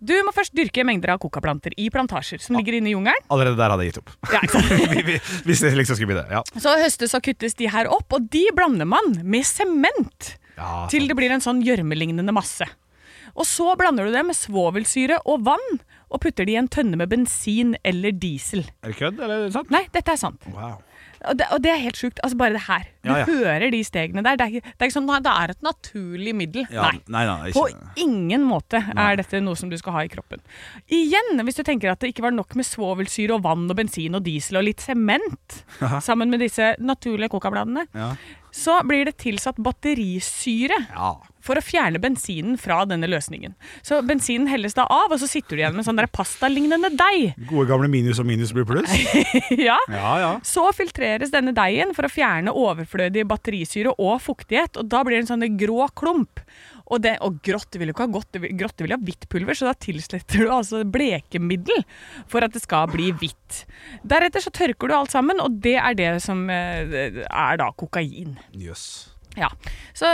Du må først dyrke mengder av kokaplanter i plantasjer som ligger inne i jungelen. Allerede der hadde jeg gitt opp. Ja, ikke sant? Vi- vi- Hvis det liksom skulle bli det. Ja. så høstes og kuttes de her opp, og de blander man med sement Ja, til det blir en sånn gjørmelignende masse. Og så blander du det med svovelsyre og vann og putter det i en tønne med bensin eller diesel. Er det kødd, eller er det sant? Nei, dette er sant. Wow. Og det, og det er helt sjukt. Altså bare det her. Du Ja, ja. hører de stegene der. Det er, ikke- det er ikke sånn, nei, det er et naturlig middel. Ja, nei. nei, nei, På ikke. ingen måte er dette noe som du skal ha i kroppen. Igjen, hvis du tenker at det ikke var nok med svovelsyre og vann og bensin og diesel og litt sement sammen med disse naturlige kokabladene, Ja. så blir det tilsatt batterisyre Ja. for å fjerne bensinen fra denne løsningen. Så bensinen helles da av, og så sitter du igjen med sånn der pastalignende deig. Gode gamle minus og minus blir pluss. ja. Ja, ja. Så filtreres denne deigen for å fjerne overflødig batterisyre og fuktighet, og da blir det en sånn grå klump. Og, det, og grått vil jo ikke ha godt, det vil- grått det vil ha hvitt pulver, så da tilsletter du altså blekemiddel for at det skal bli hvitt. Deretter så tørker du alt sammen, og det er det som eh, er da kokain. Jøss. Ja. Så,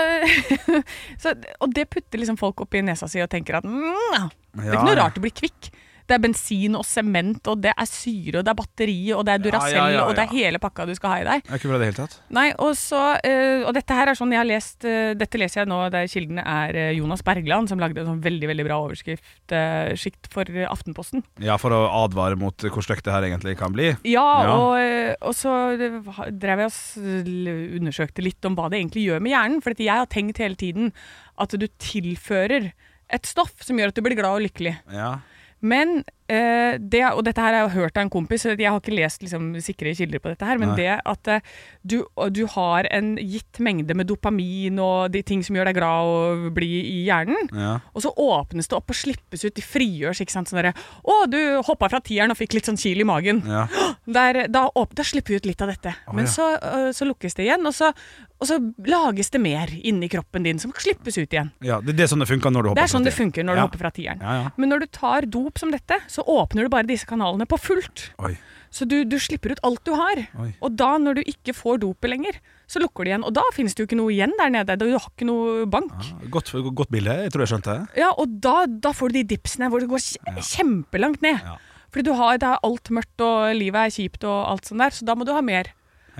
så, og det putter liksom folk opp i nesa si og tenker at mm, ja. Det er Ja, ikke noe ja. rart å bli kvikk. Det er bensin og sement, og det er syre, og det er batteri, og det er Ja, Duracell, ja, ja, og det er ja. hele pakka du skal ha i deg. Det er ikke bra i det hele tatt. Nei, og så eh, Og dette her er sånn jeg har lest eh, Dette leser jeg nå der kildene er eh, Jonas Bergland, som lagde en sånn veldig, veldig bra overskrift eh, Skikt for eh, Aftenposten. Ja, for å advare mot hvor stygt det her egentlig kan bli. Ja, Ja. Og, eh, og så eh, ha- drev jeg og s- l- undersøkte litt om hva det egentlig gjør med hjernen. For at jeg har tenkt hele tiden at du tilfører et stoff som gjør at du blir glad og lykkelig. Ja. Men eh, det, og dette her har jeg hørt av en kompis, så jeg har ikke lest liksom, sikre kilder på dette her, men Nei. det at eh, du, og du har en gitt mengde med dopamin og de ting som gjør deg glad og bli i hjernen, ja. og så åpnes det opp og slippes ut, de frigjørs, ikke sant, sånn derre, å, du hoppa fra tieren og fikk litt sånn kil i magen. ja. Der, da, åp- da slipper vi ut litt av dette. Men ja. så, øh, så lukkes det igjen, og så, og så lages det mer inni kroppen din som slippes ut igjen. ja det, det er sånn det funker når du hopper Det er sånn fra det tre. funker når ja. du hopper fra tieren. Ja, ja. Men når du tar dop som dette, så åpner du bare disse kanalene på fullt. Oi. Så du, du slipper ut alt du har. Oi. Og da, når du ikke får dopet lenger, så lukker det igjen. Og da finnes det jo ikke noe igjen der nede. Du har ikke noe bank. Godt, godt bilde. Jeg tror jeg skjønte det. Ja, og da, da får du de dipsene hvor det går kje- kjempelangt ned. Ja. Fordi du har, det er alt mørkt, og livet er kjipt og alt sånt der, så da må du ha mer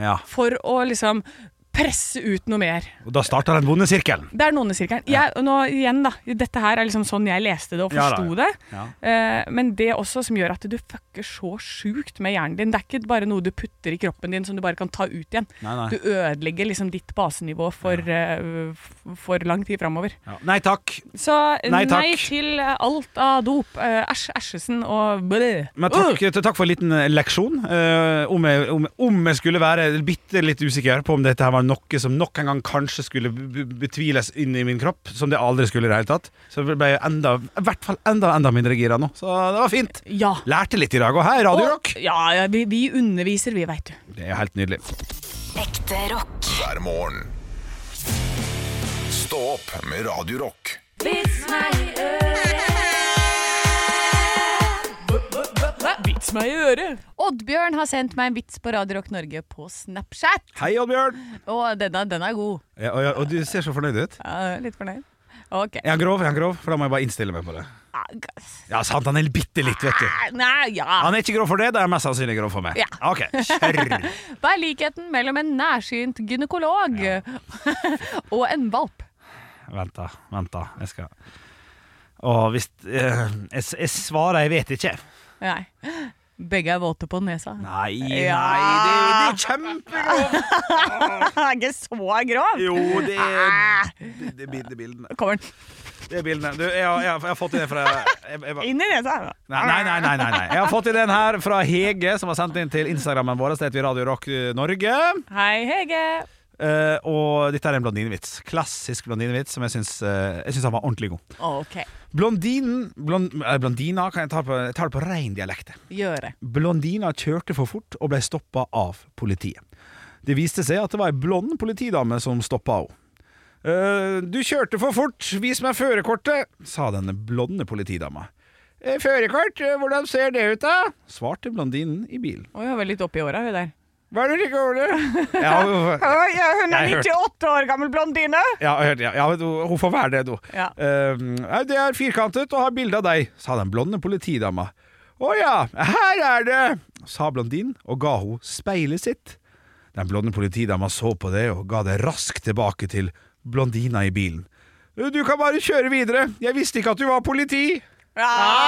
Ja. for å liksom presse ut noe mer. Og da starter den vonde sirkelen. Det er nonnesirkelen. Jeg, og nå igjen da, dette her er liksom sånn jeg leste det og Ja da, forsto ja. det. Eh, men det også som gjør at du fucker så sjukt med hjernen din. Det er ikke bare noe du putter i kroppen din som du bare kan ta ut igjen. Nei, nei. Du ødelegger liksom ditt basenivå for, eh, f- for lang tid framover. Ja. Nei takk. Så Nei, nei, takk. til eh, alt av dop. Eh, Æsj, æsjesen og blæh. Men takk, takk for en liten eh, leksjon. Eh, om, jeg, om, om jeg skulle være bitte litt usikker på om dette her var noe som nok en gang kanskje skulle b- b- betviles inn i min kropp, som det aldri skulle i det hele tatt, så ble jeg enda, i hvert fall enda, enda mindre gira nå. Så det var fint. Ja. Lærte litt i dag òg, her i Radio Rock. Og, ja, ja vi, vi underviser, vi, veit du. Det er helt nydelig. Ekte rock. hver morgen. Stå opp med Radio Rock. Vits meg i øret. Oddbjørn har sendt meg en vits på Radio Rock Norge på Snapchat. Hei, Oddbjørn. Og denne, den er god. Ja, og, og du ser så fornøyd ut. Ja, litt fornøyd. Ok. Er han grov? Er han grov? For da må jeg bare innstille meg på det. Ah, gass. Ja, sant, han er bitte litt, vet du. Nei, ja. Han er ikke grov for det, da er han mest sannsynlig grov for meg. Ja. Ok, kjør. Hva er likheten mellom en nærsynt gynekolog og en valp? Vent da, vent da, jeg skal Åh, hvis eh, jeg, s- jeg svarer, jeg vet ikke Nei. Begge er våte på nesa. Nei, nei, det, det Ja. er kjempegrovt er ikke så grov! Jo, det er det, det, er bild- det er bildene Kommer den Det er bildene du, jeg, har- jeg, har- jeg har fått inn det fra jeg, jeg, bare- inn i nesa? Nei, nei, nei, nei, nei, nei Jeg har fått inn den her fra Hege Som har sendt inn til Instagrammen vår Det heter vi Radio Rock eh, Norge Hei, Hege. Eh, og dette er en blondinevits. Klassisk blondinevits som jeg syns, eh, jeg syns han var ordentlig god. OK. Blondinen blond, eh, Blondina kan jeg ta på, jeg tar det på rein dialekt. Gjør det. Blondina kjørte for fort og ble stoppa av politiet. Det viste seg at det var ei blond politidame som stoppa henne. «Eh, du kjørte for fort, vis meg førerkortet, sa den blonde politidama. «Eh, Førerkort, Eh, hvordan ser det ut da? svarte blondinen i bilen. Å, hun var litt oppi åra, hun der. Hva er det du ikke over Ja, hun er Jeg hørte. 98 år gammel blondine! Ja, jeg hørte- ja, ja du- hun får være det, du. Ja. Eh, nei, det er firkantet og har bilde av deg, sa den blonde politidama. Å ja, her er det, sa blondinen og ga henne speilet sitt. Den blonde politidama så på det og ga det raskt tilbake til blondina i bilen. Du kan bare kjøre videre, jeg visste ikke at du var politi.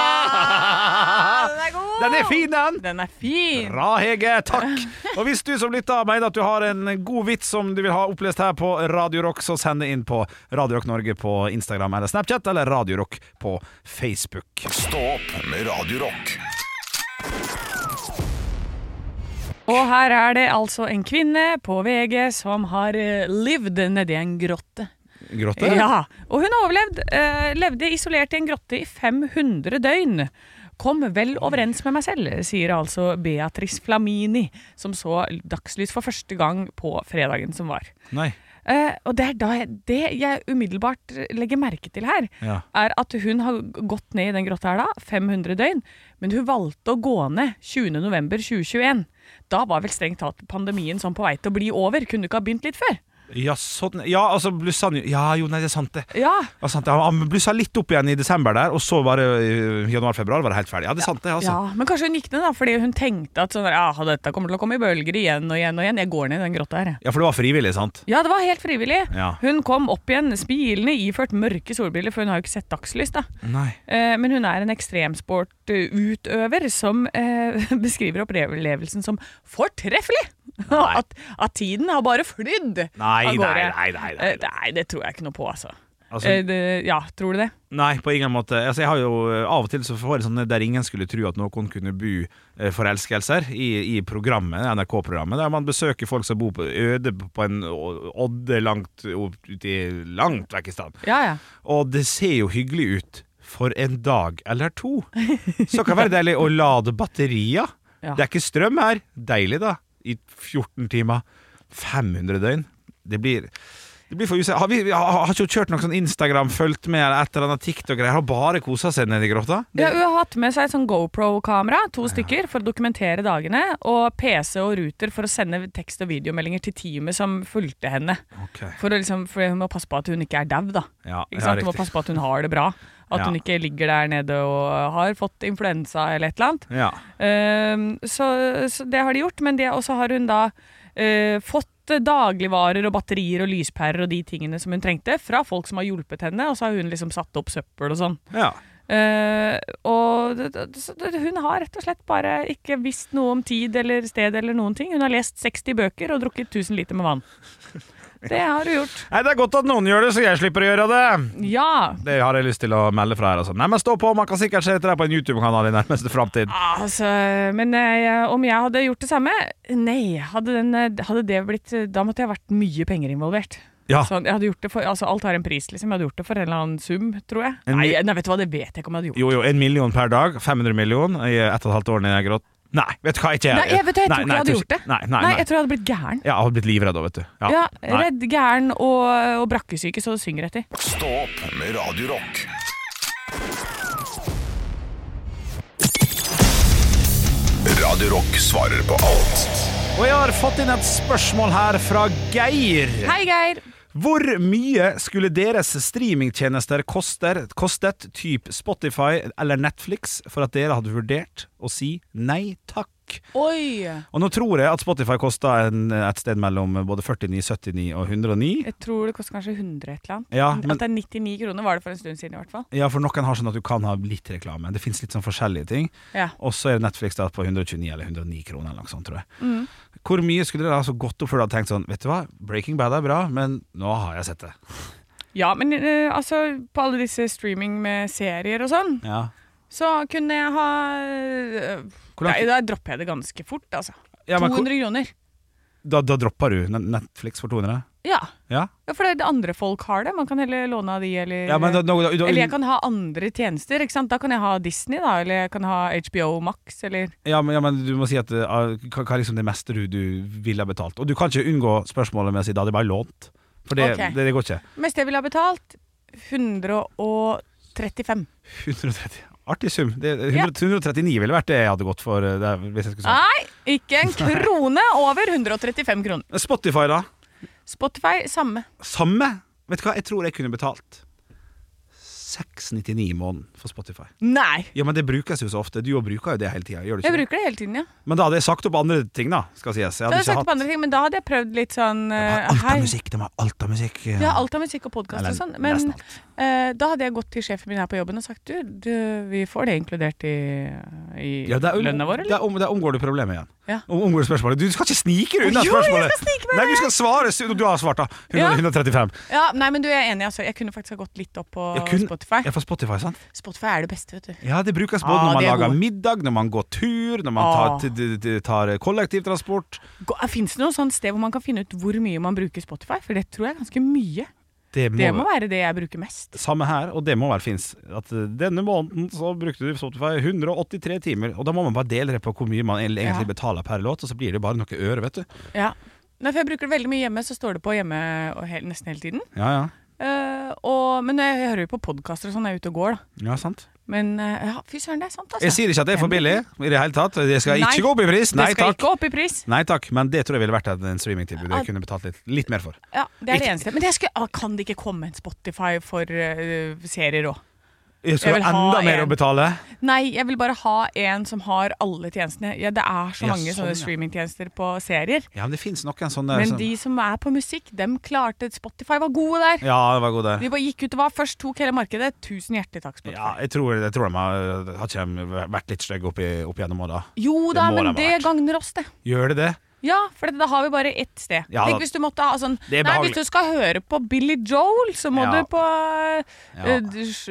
Ah, den er god! Ah, Den er fin, den! Den er fin! Bra, Hege. Takk. Og hvis du som lytter mener at du har en god vits som du vil ha opplest her på Radio Rock, så send det inn på Radio Rock Norge på Instagram eller Snapchat, eller Radio Rock på Facebook. Stå opp med Radio Rock. Og her er det altså en kvinne på VG som har eh, levd nedi en grotte. Grotte? Ja, og hun har overlevd. eh, levde isolert i en grotte i 500 døgn. Kom vel overens med meg selv, sier altså Beatrice Flamini, som så dagslys for første gang på fredagen som var. Nei. Eh, og det er da jeg, det jeg umiddelbart legger merke til her, Ja. er at hun har gått ned i den grotta her da, 500 døgn, men hun valgte å gå ned 20. november 2021. Da var vel strengt talt pandemien sånn på vei til å bli over, kunne du ikke ha begynt litt før? Ja, sånn. ja, altså blussa han jo Ja, jo, nei, det er sant, det. Ja, Ja, sant, det. Han blussa litt opp igjen i desember der, og så bare i januar-februar var det helt ferdig. Ja, det er sant, det, altså. Ja, men kanskje hun gikk ned da, fordi hun tenkte at sånn, der, ah, dette kommer til å komme i bølger igjen og igjen og igjen. Jeg går ned i den grotta her, jeg. Ja, for det var frivillig, sant? Ja, det var helt frivillig. Ja. Hun kom opp igjen spilende iført mørke solbriller, for hun har jo ikke sett dagslys, da. Nei. Eh, Men hun er en ekstremsportutøver som eh, beskriver opplevelsen som fortreffelig! At, at tiden har bare flydd Nei, av nei, gårde. nei, nei, nei. Eh, nei, det tror jeg ikke noe på, altså. Altså- Eh, det, ja, tror du det? Nei, på ingen måte. Altså, jeg har jo eh, Av og til så får jeg sånne der ingen skulle tro at noen kunne bo eh, forelskelser i, i programmet, NRK-programmet, der man besøker folk som bor på øde på en å- odde langt opp ut i langt vekk i stand. Ja, ja. Og det ser jo hyggelig ut for en dag eller to. Så kan det være deilig å lade batterier. Ja. Det er ikke strøm her. Deilig, da. I 14 timer. 500 døgn. Det blir det blir for usett. Har, vi, har, har ikke hun kjørt noe sånn Instagram, fulgt med eller et eller annet TikTok-greier? Har bare kosa seg nede i grotta? Ja, hun har hatt med seg sånn GoPro-kamera, to stykker, for å dokumentere dagene. Og PC og ruter for å sende tekst- og videomeldinger til teamet som fulgte henne. Ok. For, å liksom, for hun må passe på at hun ikke er dau, da. Ja, ikke ja, sant? Hun må riktig. passe på at hun har det bra. At Ja. hun ikke ligger der nede og har fått influensa eller et eller annet. Ja. Ehm, så, så det har de gjort, men det- og så har hun da eh, fått dagligvarer og batterier og lyspærer og de tingene som hun trengte, fra folk som har hjulpet henne, og så har hun liksom satt opp søppel og sånn. ja. Eh, og det- det- så det- hun har rett og slett bare ikke visst noe om tid eller sted eller noen ting. Hun har lest 60 bøker og drukket 1000 liter med vann. Det har hun gjort. Nei, det er godt at noen gjør det, så jeg slipper å gjøre det. Ja! Det har jeg lyst til å melde fra her, altså. Nei, men stå på, man kan sikkert se etter deg på en YouTube-kanal i nærmeste framtid. Altså, men eh, om jeg hadde gjort det samme? Nei. Hadde, den, eh, hadde det blitt Da måtte jeg vært mye penger involvert. Ja. Sånn, jeg hadde gjort det for, altså, alt har en pris, liksom. Jeg hadde gjort det for en eller annen sum, tror jeg. En Nei, mi- nei, vet du hva, det vet jeg ikke om jeg hadde gjort. Jo, jo, en million per dag. 500 million i ett og et halvt år nede i grått. Nei, vet du hva, ikke Nei, jeg vet det, Nei, jeg tror ikke nei, jeg hadde gjort ikke- det. Nei, nei, Nei, nei. jeg tror jeg hadde blitt gæren. Ja, jeg hadde blitt livredd da, vet du. Ja, Ja, nei. redd, gæren og, og brakkesyke, så det synger etter. Stå opp med Radio Rock. Radio Rock svarer på alt. Og jeg har fått inn et spørsmål her fra Geir. Hei, Geir. Hvor mye skulle deres streamingtjenester koster, kostet, typ Spotify eller Netflix, for at dere hadde vurdert å si nei takk? Oi! Og nå tror jeg at Spotify kosta et sted mellom både 49, 79 og 109. Jeg tror det koster kanskje 100 et eller annet. Ja, men- At det er 99 kroner var det for en stund siden i hvert fall. Ja, for noen har sånn at du kan ha litt reklame. Det fins litt sånn forskjellige ting. Ja. Og så er det Netflix da på 129 eller 109 kroner eller noe sånt, tror jeg. Mm. Hvor mye skulle dere altså gått opp før du hadde tenkt sånn Vet du hva, Breaking Bad er bra, men nå har jeg sett det. Ja, men eh, altså, på alle disse streaming med serier og sånn, Ja. så kunne jeg ha eh, Hvor langt- Nei, da dropper jeg det ganske fort, altså. Ja, men hvor- 200 kroner. Da, da dropper du Net- Netflix for 200? Ja. Ja, ja, for det er det andre folk har det. Man kan heller låne av de, eller ja men da, da, da, Eh, Eller jeg kan ha andre tjenester. ikke sant? Da kan jeg ha Disney, da, eller jeg kan ha HBO Max, eller Ja, men, ja, men du må si at eh, hva, hva er liksom det meste du, du ville ha betalt? Og du kan ikke unngå spørsmålet med å si da, det er bare lånt. For det, Ok. det, det går ikke. Mest jeg ville ha betalt 135. 130. Artig sum. Det, 100, 139 ville vært det jeg hadde gått for. eh, Det, er- hvis jeg skulle sagt. Nei, ikke en krone over 135 kroner. Spotify, da? Spotify, samme. Samme. Vet du hva, jeg tror jeg kunne betalt 699 i måneden for Spotify. Nei. Ja, men det brukes jo så ofte. Du jo bruker jo det hele tida, gjør du Jeg ikke? det? bruker det hele tiden, ja. Men da hadde jeg sagt opp andre ting, da, skal sies. Jeg Da hadde hadde jeg sagt på andre ting, men da hadde jeg prøvd litt sånn De har eh, alt hei. av musikk. De har alt av musikk. Ja, alt av musikk og podkast og Eller sånn. Men nesten alt. eh, da hadde jeg gått til sjefen min her på jobben og sagt du, du vi får det inkludert i, i Ja, det er, lønna vår, det eller? er om, det er omgår du problemet igjen. Ja. Om, omgår du spørsmålet. Du skal ikke snike deg unna Jo, jeg spørsmålet! skal snike meg Nei, du unna. skal svare! så- Du har svart, da. 100, Ja. 135. Ja, nei, men du jeg er enig, altså. Jeg kunne faktisk ha gått litt opp på Jeg kunne- Spotify. Ja, for Spotify, sant? Spotify er det beste, vet du. Ja, det brukes både Ah, når man det er lager god. middag, når man går tur, når man Ah. tar, t- t- t- tar kollektivtransport. Fins det noe sånt sted hvor man kan finne ut hvor mye man bruker Spotify? For det tror jeg er ganske mye. Det må, Det må være det jeg bruker mest. Samme her, og det må være fins. At eh, denne måneden så brukte du Spotify 183 timer, og da må man bare dele det på hvor mye man egentlig Ja. betaler per låt, og så blir det bare noen øre, vet du. Ja. Nei, for jeg bruker det veldig mye hjemme, så står det på hjemme og he nesten hele tiden. Ja, ja. Eh, og, men jeg, jeg hører jo på podkaster og sånn når jeg er ute og går, da. Ja, sant. Men eh, ja, fy søren, det er sant, altså. Jeg sier ikke at det er for billig i det hele tatt. Det skal Nei. ikke gå opp i pris. Nei det skal takk. ikke opp i pris. Nei takk, men det tror jeg ville vært et- en streamingtilbud jeg kunne betalt litt, litt mer for. Ja, det er det Ikke- eneste. Men jeg skulle, ah, kan det ikke komme en Spotify for eh, serier òg? Jeg skal Jeg ha vil ha enda mer en. å betale. Nei, jeg vil bare ha en som har alle tjenestene. Ja, det er så Ja, mange sånn, sånne ja. streamingtjenester på serier. Ja, sånn. men det fins noen sånne Men som- de som er på musikk, dem klarte Spotify var gode der. Ja, det var god der. De bare gikk ut og var først, tok hele markedet. Tusen hjertelig takk, Spotify. Ja, jeg tror, jeg tror de har, eh, har ikke de vært litt stygge opp, i- opp gjennom åra. Jo Det da, må de men ha det vært. gagner oss, det. Gjør det det? Ja, for da har vi bare ett sted. Ja, Tenk da- hvis du måtte ha sånn Det er Nei, behagelig. hvis du skal høre på Billy Joel, så må Ja. du på eh, Ja.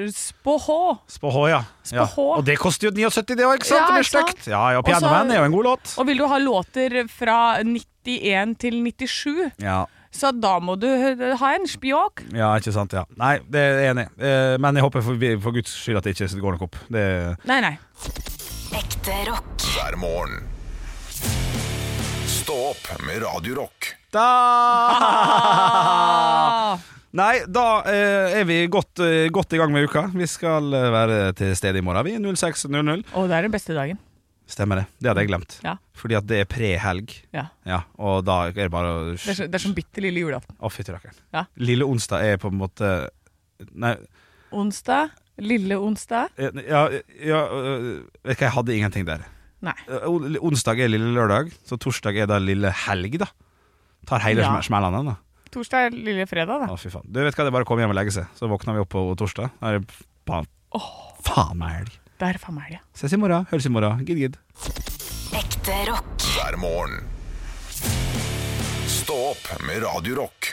uh, Spå-H. Spå H, ja. ja. Spå H. Og det koster jo 79 det òg, ikke sant? Ja, det blir ikke sant? stygt. Ja, ja, Og så- Pianoman er jo en god låt. Og vil du ha låter fra 91 til 97, Ja, så da må du ha en spjåk. ja, ikke sant. ja Nei, det er jeg enig i. Eh, Men jeg håper for, for guds skyld at det ikke går nok opp. Det Nei, nei. Ekte rock. hver morgen. Stå opp med Radio Rock. Da Nei, da eh, er vi godt, eh, godt i gang med uka. Vi skal eh, være til stede i morgen, vi. 06.00. Og det er den beste dagen. Stemmer det. Det hadde jeg glemt. Ja. Fordi at det er pre-helg. ja. Ja, og da er det bare å Det er, så, det er som bitte lille julaften. Å, fytti rakkeren. Ja. Lille onsdag er på en måte Nei, Onsdag, lille onsdag. eh, ja, ja øh, Vet du hva, jeg hadde ingenting der. Nei. Eh, on- Onsdag er lille lørdag, så torsdag er da lille helg, da. Tar hele Ja. ja. smellene, da. Torsdag er lille fredag, da. Å, fy faen. Du vet hva, det er bare å komme hjem og legge seg. Så våkner vi opp på torsdag. Da er det faen, faen meg helg. Det er faen meg helga. Ses i morgen. Høres i morgen. Gidd, gidd. Ekte rock. hver morgen. Stå opp med Radio Rock.